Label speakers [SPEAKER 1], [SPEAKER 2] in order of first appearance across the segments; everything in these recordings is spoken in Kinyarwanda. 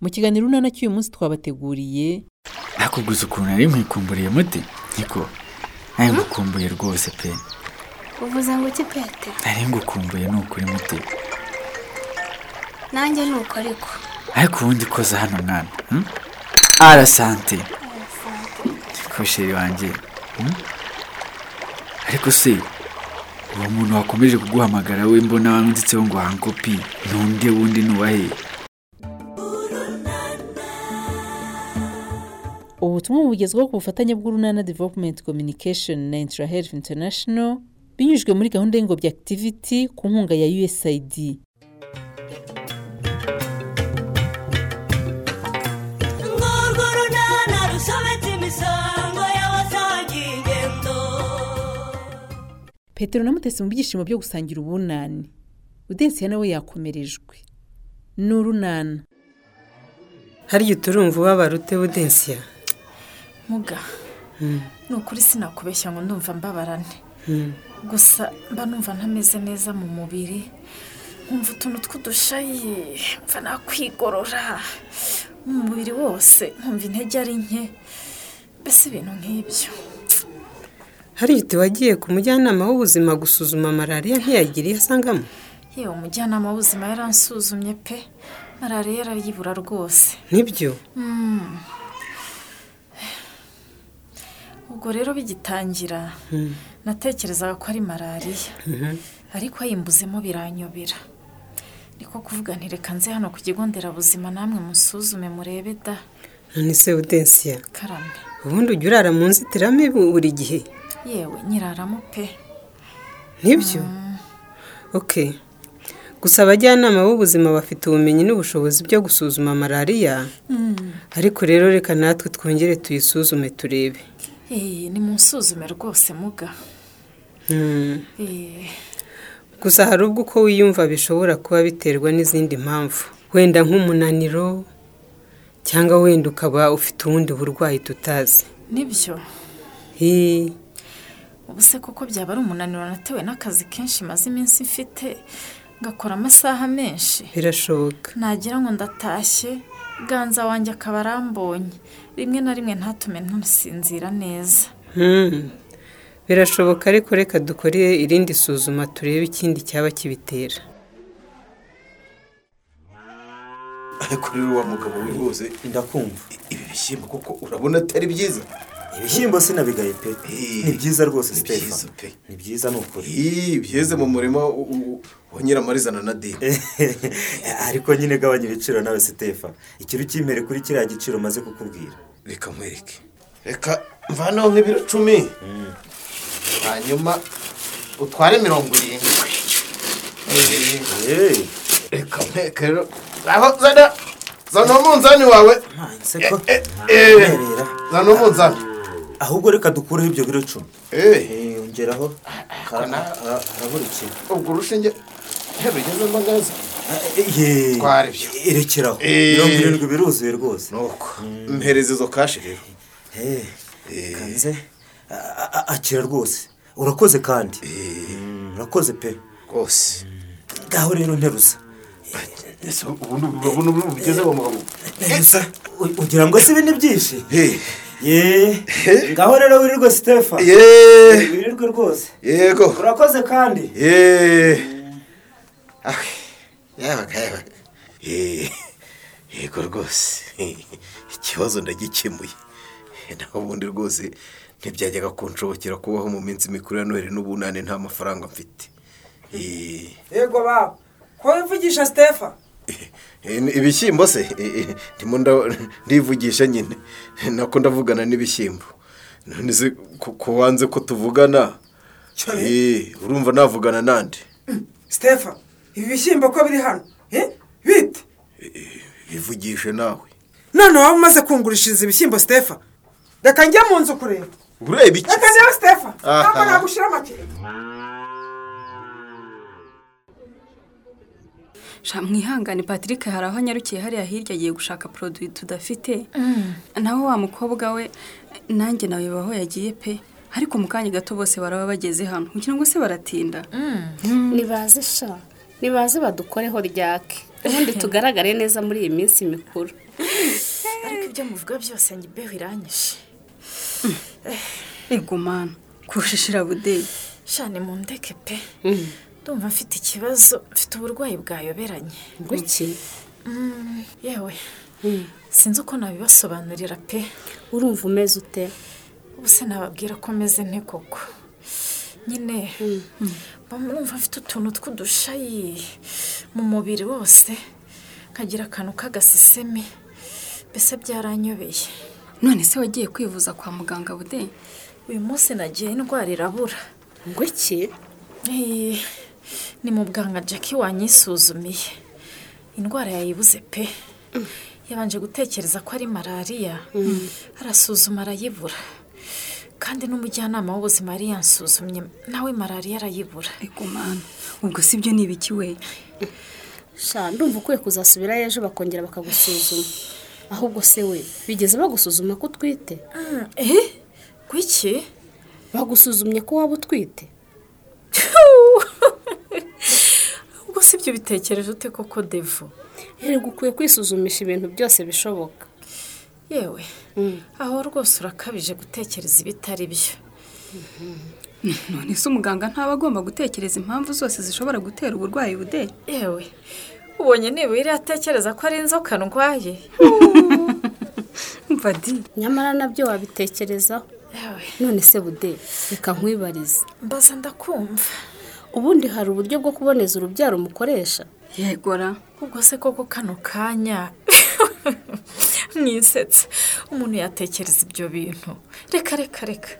[SPEAKER 1] mu kiganiro urunana cy'uyu munsi twabateguriye
[SPEAKER 2] nakubwiza ukuntu nari nkwikumburiye muti niko nari ngukumbuye rwose pe
[SPEAKER 3] Hmm? uvuze ngo iki pete
[SPEAKER 2] nari ngukumbuye ni ukuri muti
[SPEAKER 3] nanjye ni uko ariko
[SPEAKER 2] ariko ubundi koza hano hmm? mwana arasante kosheri wanjye hmm? ariko se uwo muntu wakomeje kuguhamagara we mbona wanditseho ngo hankopi ni undi wundi ni uwahe
[SPEAKER 1] ubutumwa bugezweho ku bufatanye bw'urunana developumenti komyunikasheni na intara herifu intanashono binyujijwe muri gahunda y'ingobyi akitiviti ku nkunga ya usaid petero na mutesi mu byishimo byo gusangira ubunani udensiya nawe yakomerejwe ni urunana
[SPEAKER 4] hariya uturumva ubabara ute budensiya
[SPEAKER 5] muga ni ukuri sinakubeshya ngo ndumva mbabarane gusa mba numva ntameze neza mu mubiri nkumva utuntu tw'udushayi mva nakwigorora mu mubiri wose nkumva intege ari nke mbese ibintu nk'ibyo
[SPEAKER 4] hariya wagiye ku mujyanama w'ubuzima gusuzuma malariya ntiyagira iyo asangamo
[SPEAKER 5] yewe umujyanama w'ubuzima yaransuzumye pe malariya yarayibura rwose
[SPEAKER 4] nibyo
[SPEAKER 5] ubwo rero bigitangira natekerezaga ko ari malariya ariko ayimbuzemo biranyobera niko kuvuga ntireka nze hano ku kigo nderabuzima namwe musuzume murebe da
[SPEAKER 4] none se udensiya
[SPEAKER 5] karame
[SPEAKER 4] ubundi ujya urara mu nzitiramibu buri gihe
[SPEAKER 5] yewe nyiraramo pe
[SPEAKER 4] nibyo oke gusa abajyanama b'ubuzima bafite ubumenyi n'ubushobozi byo gusuzuma malariya ariko rero reka natwe twongere tuyisuzume turebe
[SPEAKER 5] Eh, ni mu nsuzume rwose muga
[SPEAKER 4] Mm.
[SPEAKER 5] Eh,
[SPEAKER 4] gusa hari ubwo uko wiyumva bishobora kuba biterwa n'izindi mpamvu wenda nk'umunaniro cyangwa wenda ukaba ufite ubundi burwayi tutazi
[SPEAKER 5] nibyo
[SPEAKER 4] Hi,
[SPEAKER 5] ubu se koko byaba ari umunaniro natewe n'akazi kenshi maze iminsi mfite ngakora amasaha menshi
[SPEAKER 4] birashoboka
[SPEAKER 5] nagira ngo ndatashye ganza wanjye akaba arambonye rimwe na rimwe ntatume ntusinzira neza
[SPEAKER 4] Mm. birashoboka ariko reka dukore irindi suzuma turebe ikindi cyaba kibitera
[SPEAKER 6] ariko rero wa mugabo we rwose
[SPEAKER 7] ndakumva
[SPEAKER 6] ibi bishyimbo kuko urabona atari byiza
[SPEAKER 7] ibishyimbo sinabigaye pe
[SPEAKER 6] Eh,
[SPEAKER 7] ni byiza rwose
[SPEAKER 6] ni
[SPEAKER 7] sitefa
[SPEAKER 6] byiza pe.
[SPEAKER 7] ni byiza ni ukuri
[SPEAKER 6] Ih, byeze mu murima u- u- wa nyiramarizana na deni
[SPEAKER 8] Eh.
[SPEAKER 7] ariko nyine gabanya ibiciro nawe sitefa ikintu cy'imbere kuri kiriya giciro maze kukubwira
[SPEAKER 6] reka nkwereke reka mvaneho nk'ibiro cumi hanyuma utware mirongo irindwi Eh,
[SPEAKER 7] yeee
[SPEAKER 6] reka nkwereke rero aho zana zana umunzani wawe
[SPEAKER 7] ntse ko
[SPEAKER 6] Eh, eh, eh.
[SPEAKER 7] nterera
[SPEAKER 6] zana umunzani
[SPEAKER 7] ahubwo reka dukureho ibyo biro icumi
[SPEAKER 6] Eh, Ah,
[SPEAKER 7] Eh, yongeraho
[SPEAKER 6] na-
[SPEAKER 7] harabura ikintu
[SPEAKER 6] ubwo eh, urushinge ntirugeze mbangaza
[SPEAKER 7] yeee
[SPEAKER 6] Twara Ah, eh, ibyo.
[SPEAKER 7] erekeraho
[SPEAKER 6] Eh.
[SPEAKER 7] mirongo irindwi biruzuye rwose
[SPEAKER 6] nuko mpereza izo kashi rero
[SPEAKER 7] Eh, kanze a- a- akira rwose urakoze kandi
[SPEAKER 6] Eh.
[SPEAKER 7] Mm, urakoze pe
[SPEAKER 6] rwose
[SPEAKER 7] ngaho rero nteruza
[SPEAKER 6] ese ubundi ubu ni ubu bugeze mu mugabo
[SPEAKER 7] nteruza u- ugira ngo si ibi ni byinshi
[SPEAKER 6] Eh,
[SPEAKER 7] ye ngaho rero wirirwe sitefa
[SPEAKER 6] eh,
[SPEAKER 7] wirirwe rwose
[SPEAKER 6] yego
[SPEAKER 7] urakoze kandi
[SPEAKER 6] yeee Ah, yabaga yabaga Yeee, yego rwose ikibazo ndagikemuye naho ubundi rwose ntibyajyaga kunshobokera kubaho mu minsi mikuru ya noheli n'ubunani nta mafaranga mfite Yeee.
[SPEAKER 8] yego baba ko wivugisha sitefa
[SPEAKER 6] Eh, ni ibishyimbo se Eh, eh, ndimo nda- ndivugisha nyine nako ndavugana n'ibishyimbo none se ko ko wanze ko tuvugana Eh, urumva navugana nande
[SPEAKER 8] sitefa ibi bishyimbo ko biri hano eh, bite
[SPEAKER 6] bivugishe nawe
[SPEAKER 8] none waba umaze kungurishiriza ibishyimbo sitefa reka njye mu nzu kureba
[SPEAKER 6] ureba iki
[SPEAKER 8] reka njyewe sitefa
[SPEAKER 6] Aha.
[SPEAKER 8] ntabwo nagushyira make
[SPEAKER 9] sha mwihangane patrick hari aho anyarukiye hariya hirya agiye gushaka
[SPEAKER 10] Mm.
[SPEAKER 9] poroduwi tudafite nawe wa mukobwa we nanjye nawe baho yagiye pe ariko mu kanya gato bose baraba bageze hano kugira ngo se baratinda
[SPEAKER 10] Mm. ntibazi sha ntibazi badukoreho ryake ubundi tugaragare neza muri iyi minsi mikuru
[SPEAKER 5] ariko ibyo muvuga byose njye imbeho iranyishe
[SPEAKER 9] igumana kushishira budeyi
[SPEAKER 5] shane mu ndeke pe
[SPEAKER 10] Mm.
[SPEAKER 5] ndumva mfite ikibazo mfite uburwayi bwayoberanye
[SPEAKER 10] iki
[SPEAKER 5] Mm, yewe sinzi uko nabibasobanurira pe
[SPEAKER 10] Mm. urumva umeze ute
[SPEAKER 5] ubu se nababwira ko meze nte koko nyine
[SPEAKER 10] Mm.
[SPEAKER 5] bamwumva mfite utuntu tw'udushayi mu mubiri wose nkagira akantu k'agasisemi mbese byaranyobeye
[SPEAKER 9] none se wagiye kwivuza kwa muganga budeyi
[SPEAKER 5] uyu munsi nagiye indwara irabura
[SPEAKER 10] ngo iki
[SPEAKER 5] Eh, ni mu bwanga jackie wanyisuzumiye indwara yayibuze pe yabanje gutekereza ko ari malariya arasuzuma arayibura kandi n'umujyanama w'ubuzima yari yansuzumye nawe malariya arayibura
[SPEAKER 9] igumana ubwo si byo ni ibiki we
[SPEAKER 10] sha ndumva ukwiye kuzasubirayo ejo bakongera bakagusuzuma ahubwo se we bigeze bagusuzuma ko utwite
[SPEAKER 5] kuki
[SPEAKER 10] bagusuzumye ko waba utwite
[SPEAKER 5] ubwo si ibyo bitekereje ute koko devu
[SPEAKER 10] erega ukwiye kwisuzumisha ibintu byose bishoboka
[SPEAKER 5] yewe aho rwose urakabije gutekereza ibitari byo
[SPEAKER 9] none se umuganga ntaba agomba gutekereza impamvu zose zishobora gutera uburwayi budeyi
[SPEAKER 5] yewe ubonye nibura iratekereza ko ari inzoka ndwaye
[SPEAKER 9] umva di
[SPEAKER 10] nyamara nabyo wabitekerezaho
[SPEAKER 5] yewe
[SPEAKER 10] none se bude reka nkwibarize
[SPEAKER 5] mbaza ndakumva
[SPEAKER 10] ubundi hari uburyo bwo kuboneza urubyaro umukoresha
[SPEAKER 9] yegora
[SPEAKER 5] ubwo se koko kano kanya mwisetsa umuntu yatekereza ibyo bintu reka reka reka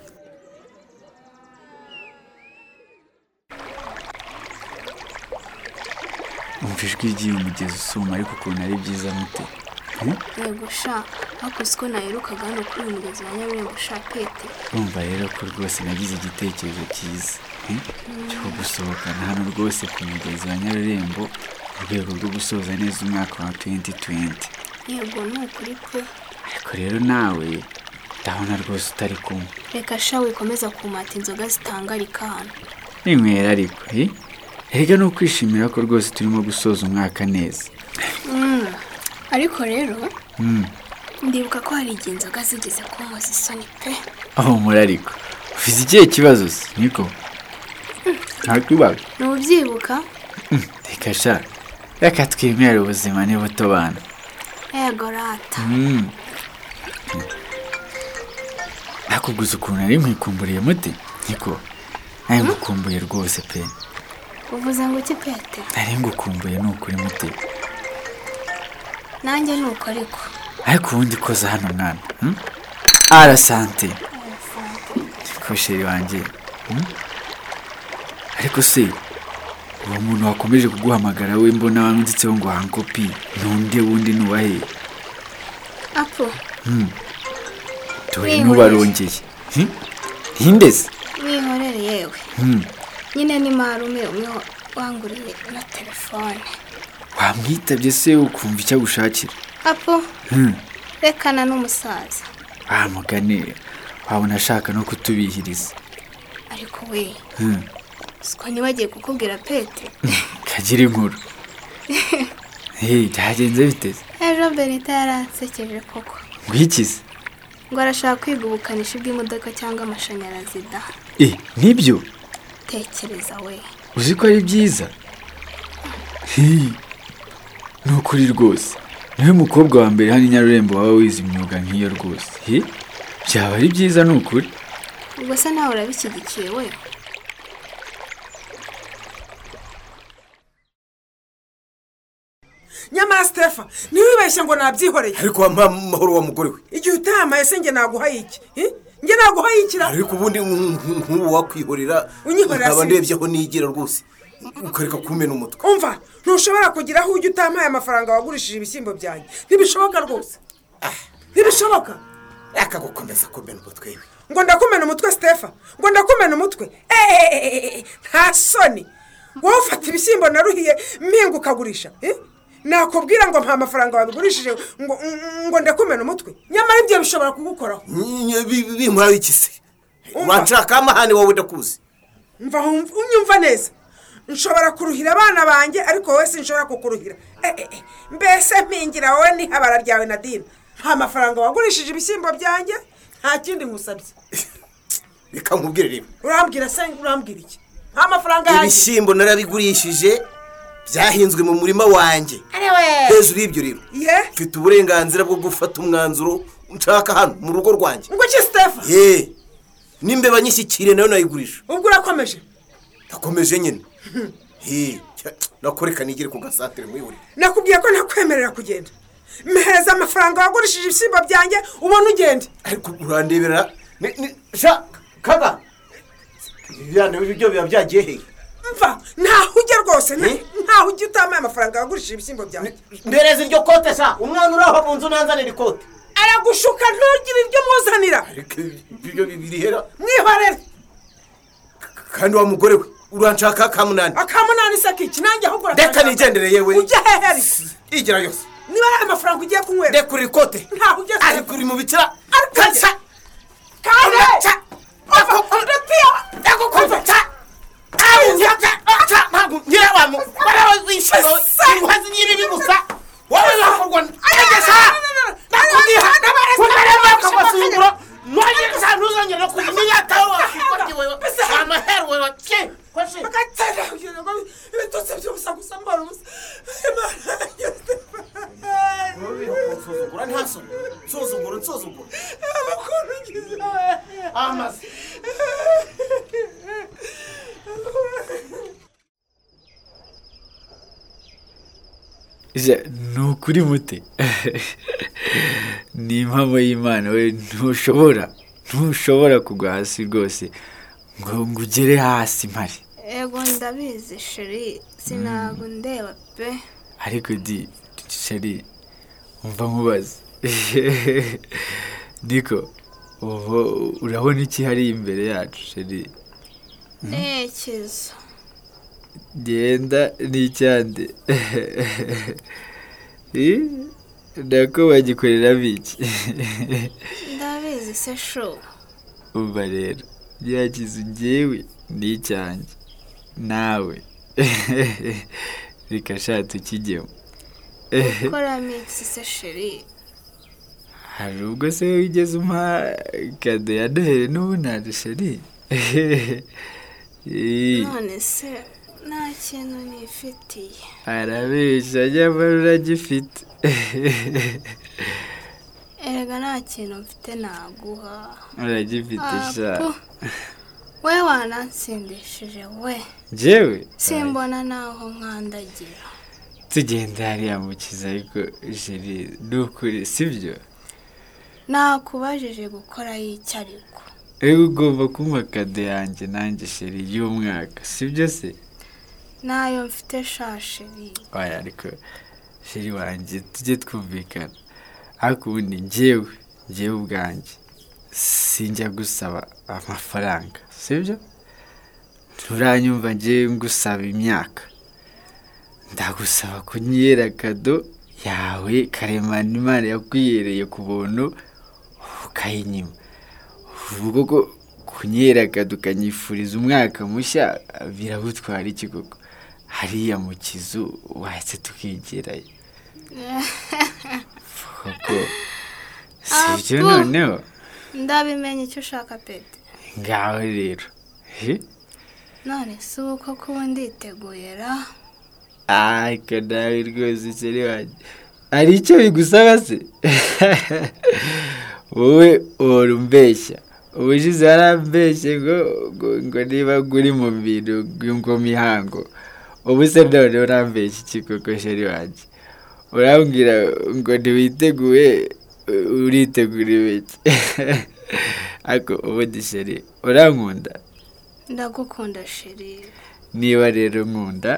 [SPEAKER 2] umva ijwi ry'iyo mugezi usuma ariko ukuntu ari byiza mute Hmm?
[SPEAKER 3] yego sha hakoze uko naherukaga hano kuri uyu mugezi wa nyaburembo sha pete
[SPEAKER 2] urumva rero ko rwose nagize igitekerezo cyiza hmm? cyo gusohokana hano rwose ku mugezi wa nyarurembo mu rwego rwo gusoza neza umwaka wa 2020
[SPEAKER 3] yego ni ukuri pe
[SPEAKER 2] ariko rero nawe ndabona rwose utari kumwe
[SPEAKER 3] reka sha wikomeza kumata inzoga zitangarika hano
[SPEAKER 2] ninywera ariko eh? erega ni ukwishimira ko rwose turimo gusoza umwaka neza
[SPEAKER 3] Mm. ariko rero
[SPEAKER 2] Hmm.
[SPEAKER 3] ndibuka ko hari igihe inzoga zigeze kunkoza isoni pe
[SPEAKER 2] aho murariko ufite ikihe kibazo se niko nta kibazo
[SPEAKER 3] ntubyibuka
[SPEAKER 2] reka sha reka twemere ubuzima nibuto bana
[SPEAKER 3] yego rata
[SPEAKER 2] Mm. nakuguze ukuntu nari nkikumburiye muti niko nari ngukumbuye rwose pe
[SPEAKER 3] uvuze ngo iki pete
[SPEAKER 2] nari ngukumbuye ni ukuri muti
[SPEAKER 3] nanjye ni uko ariko
[SPEAKER 2] ariko ubundi koza hano mwana hmm? ara sante ko sheri wanjye hmm? ariko se uwo muntu wakomeje kuguhamagara we mbona wanditseho ngo hankopi ni undi wundi ni uwahe
[SPEAKER 3] apo
[SPEAKER 2] dore ntubarongeye Hmm? hindeze
[SPEAKER 3] wihorere yewe
[SPEAKER 2] Hmm.
[SPEAKER 3] nyine ni marume umwe wanguriye na telefone
[SPEAKER 2] wamwitabye se ukumva icyo agushakira
[SPEAKER 3] apo
[SPEAKER 2] Hmm.
[SPEAKER 3] rekana n'umusaza
[SPEAKER 2] wa mugani wabona ashaka no kutubihiriza
[SPEAKER 3] ariko we
[SPEAKER 2] Hmm.
[SPEAKER 3] siko ntibagiye kukubwira pete
[SPEAKER 2] kagire inkuru Hey, byagenze biteze
[SPEAKER 3] ejo berita yaransekeje koko
[SPEAKER 2] ngwikize
[SPEAKER 3] ngo arashaka kwiga ubukanishi bw'imodoka cyangwa amashanyarazi da
[SPEAKER 2] e nibyo
[SPEAKER 3] tekereza we
[SPEAKER 2] uzi ko ari byiza Hey, ni ukuri rwose niwe mukobwa wa mbere hano i nyarurembo waba wize imyuga nk'iyo rwose Hey, byaba ari byiza ni ukuri
[SPEAKER 3] ubwo se nawe urabishyigikiye we
[SPEAKER 8] nyamara sitefa ntiwibeshye ngo nabyihoreye
[SPEAKER 7] ariko wamuha amahoro wa mugore we
[SPEAKER 8] igihe utahamaye se njye naguhaye iki Eh? njye naguhaye iki ra
[SPEAKER 7] ariko ubundi nk- nk- nk'ubu wakwihorera
[SPEAKER 8] Unyihorera
[SPEAKER 7] nkaba
[SPEAKER 8] se?
[SPEAKER 7] ndebye aho nigira rwose ukareka kumena umutwe
[SPEAKER 8] umva ntushobora kugira aho ujya utampaye amafaranga wagurishije ibishyimbo byanjye ntibishoboka rwose ntibishoboka
[SPEAKER 7] akagukomeza kumena umutwe we
[SPEAKER 8] ngo ndakumena umutwe sitefa ngo ndakumena umutwe eeeeeeeeeeeeeeeeeeeeeeeeeeeeeeeeeeeeeeeeeeeee nta soni wowe ufata ibishyimbo naruhiye mpinga ukagurisha eh? nakubwira ngo mpa amafaranga wabigurishije ngo ngo ndakumena umutwe nyamara ibyo bishobora kugukoraho
[SPEAKER 7] Nyi- nyi- bi- bi- bimuha iki se wanshaka amahane wowe ndakuzi
[SPEAKER 8] mva wumva- unyumva neza nshobora kuruhira abana banjye ariko wowe sinshobora kukuruhira Eh, eh, eh, mbese mpingira wowe ni habara ryawe na dina nta mafaranga wagurishije ibishyimbo byanjye nta kindi nkusabye
[SPEAKER 7] reka nkubwire rero
[SPEAKER 8] urambwira se urambwira iki nta mafaranga yanjye
[SPEAKER 7] ibishyimbo narabigurishije byahinzwe mu murima wanjye
[SPEAKER 8] ariwe
[SPEAKER 7] hejuru y'ibyo rero
[SPEAKER 8] ye
[SPEAKER 7] mfite uburenganzira bwo gufata umwanzuro nshaka hano mu rugo rwanjye
[SPEAKER 8] ngo iki sitefa
[SPEAKER 7] yeee n'imbeba nyishyikire nayo nayigurisha
[SPEAKER 8] ubwo urakomeje
[SPEAKER 7] ndakomeje nyine heee nakoreka nigere ku gasantere mwihurire
[SPEAKER 8] nakubwiye ko ntakwemerera kugenda mpereza amafaranga wagurishije ibishyimbo byanjye ubone ugende
[SPEAKER 7] ariko urandeberera ni ni sha kaga ibijyana ibyo biba byagiye hehe
[SPEAKER 8] mva ntaho ujya rwose nta- ntaho ujya utamaye amafaranga wagurishije ibishyimbo byanjye
[SPEAKER 7] mbereza iryo kote sha umwana uraho mu nzu nanzanira ikote
[SPEAKER 8] aragushuka ntugire ibyo muzanira
[SPEAKER 7] ariko ibyo birihera
[SPEAKER 8] mwihorere
[SPEAKER 7] kandi wa mugore we uranshaka akamunani
[SPEAKER 8] akamunani se kiki nanjye ahubwo
[SPEAKER 7] reka nigendere yewe
[SPEAKER 8] ujya hehe ariko
[SPEAKER 7] yigira yose
[SPEAKER 8] niba ari amafaranga ugiye kunywera
[SPEAKER 7] rekura ikote
[SPEAKER 8] ntaho ujya
[SPEAKER 7] ariko uri mu bikira
[SPEAKER 8] arikosa kare ava uratiya ndagukumva ca
[SPEAKER 7] nsuzugura nsuzugura
[SPEAKER 8] amazi
[SPEAKER 2] Ja, ni ukuri mute ni impamo y'imana we ntushobora ntushobora kugwa hasi rwose ngo ngo ugere hasi mpari
[SPEAKER 3] Ego ndabizi sheri sinago
[SPEAKER 2] Hmm.
[SPEAKER 3] ndeba pe
[SPEAKER 2] ariko di sheri umva nkubaze niko ubu urabona iki hari imbere yacu sheri
[SPEAKER 3] ntekezo
[SPEAKER 2] genda n'icyande Eh, nako bagikorera biki
[SPEAKER 3] ndabizi se sho
[SPEAKER 2] umva rero byagize ngewe n'icyanjye nawe reka sha tukijyemo
[SPEAKER 3] gukora migisi se sheri
[SPEAKER 2] hari ubwo se wigeze umpa kado ya noheli n'ubu ntaje sheri Eh,
[SPEAKER 3] none se nta kintu nifitiye
[SPEAKER 2] arabeshya nyamara uragifite
[SPEAKER 3] erega nta kintu mfite naguha
[SPEAKER 2] uragifite sha
[SPEAKER 3] Apu. we wanansindishije we
[SPEAKER 2] njyewe
[SPEAKER 3] simbona naho nkandagira
[SPEAKER 2] tugenda hariya mukiza ariko jeri ni ukuri sibyo
[SPEAKER 3] nakubajije gukora y'icyariko
[SPEAKER 2] Ewe ugomba kumpa kado yanjye nanjye sheri y'umwaka sibyo se
[SPEAKER 3] nayo mfite shasheri
[SPEAKER 2] oya ariko sheri wanjye tujye twumvikana ariko ubundi njyewe njyewe ubwanjye sinjya gusaba amafaranga sibyo nturanyumva njyewe ngusaba imyaka ndagusaba kunyera kado yawe karemano imana yakwiyereye ku buntu ukayinyima uvuga ko kunyera kado ukanyifuriza umwaka mushya biragutwara iki koko hariya mu kizu wahise tukigerayo koko sibyo
[SPEAKER 3] Apu.
[SPEAKER 2] noneho
[SPEAKER 3] ndabimenya icyo ushaka pete
[SPEAKER 2] ngaho rero Eh? he
[SPEAKER 3] none se ubu koko ubu nditeguye ra
[SPEAKER 2] ariko nawe rwose iseri wanjye hari icyo bigusaba se wowe uhora umbeshya ubushize yarambeshye ngo ngo ngo niba uri mu bintu ngo mihango ubu se none urambeshya iki koko sheri wanjye urambwira ngo ntiwiteguye u- uritegura ibiki ariko ubundi sheri urankunda
[SPEAKER 3] ndagukunda sheri
[SPEAKER 2] niba rero nkunda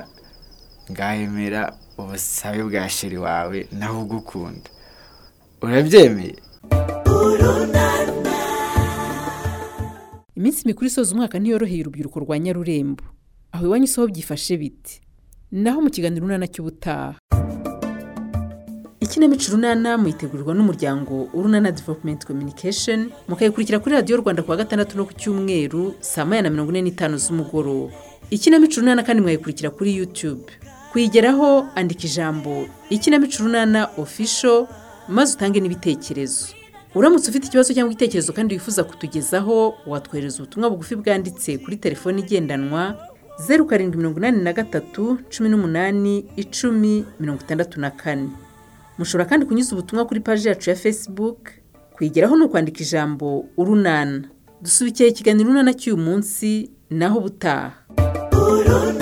[SPEAKER 2] ngahemera ubusabe bwa sheri wawe nawe ugukunda urabyemeye
[SPEAKER 1] iminsi mikuru isoza umwaka ntiyoroheye urubyiruko rwa nyarurembo aho iwanyu soho byifashe bite naho mu kiganiro urunana cy'ubutaha ikinamico urunana muyitegurwa n'umuryango urunana developumenti kominikesheni mukayikurikira kuri radiyo rwanda kuwa gatandatu no ku cyumweru saa moya na mirongo ine n'itanu z'umugoroba ikinamico urunana kandi mwayikurikira kuri yutube kuyigeraho andika ijambo ikinamico urunana ofisho maze utange n'ibitekerezo uramutse ufite ikibazo cyangwa igitekerezo kandi wifuza kutugezaho watwohereza ubutumwa bugufi bwanditse kuri telefoni igendanwa zeru karindwi mirongo inani na gatatu cumi n'umunani icumi mirongo itandatu na kane mushobora kandi kunyuza ubutumwa kuri paji yacu ya facebook kuyigeraho ni ukwandika ijambo urunana dusubikiye ikiganiro urunana cy'uyu munsi naho ubutaha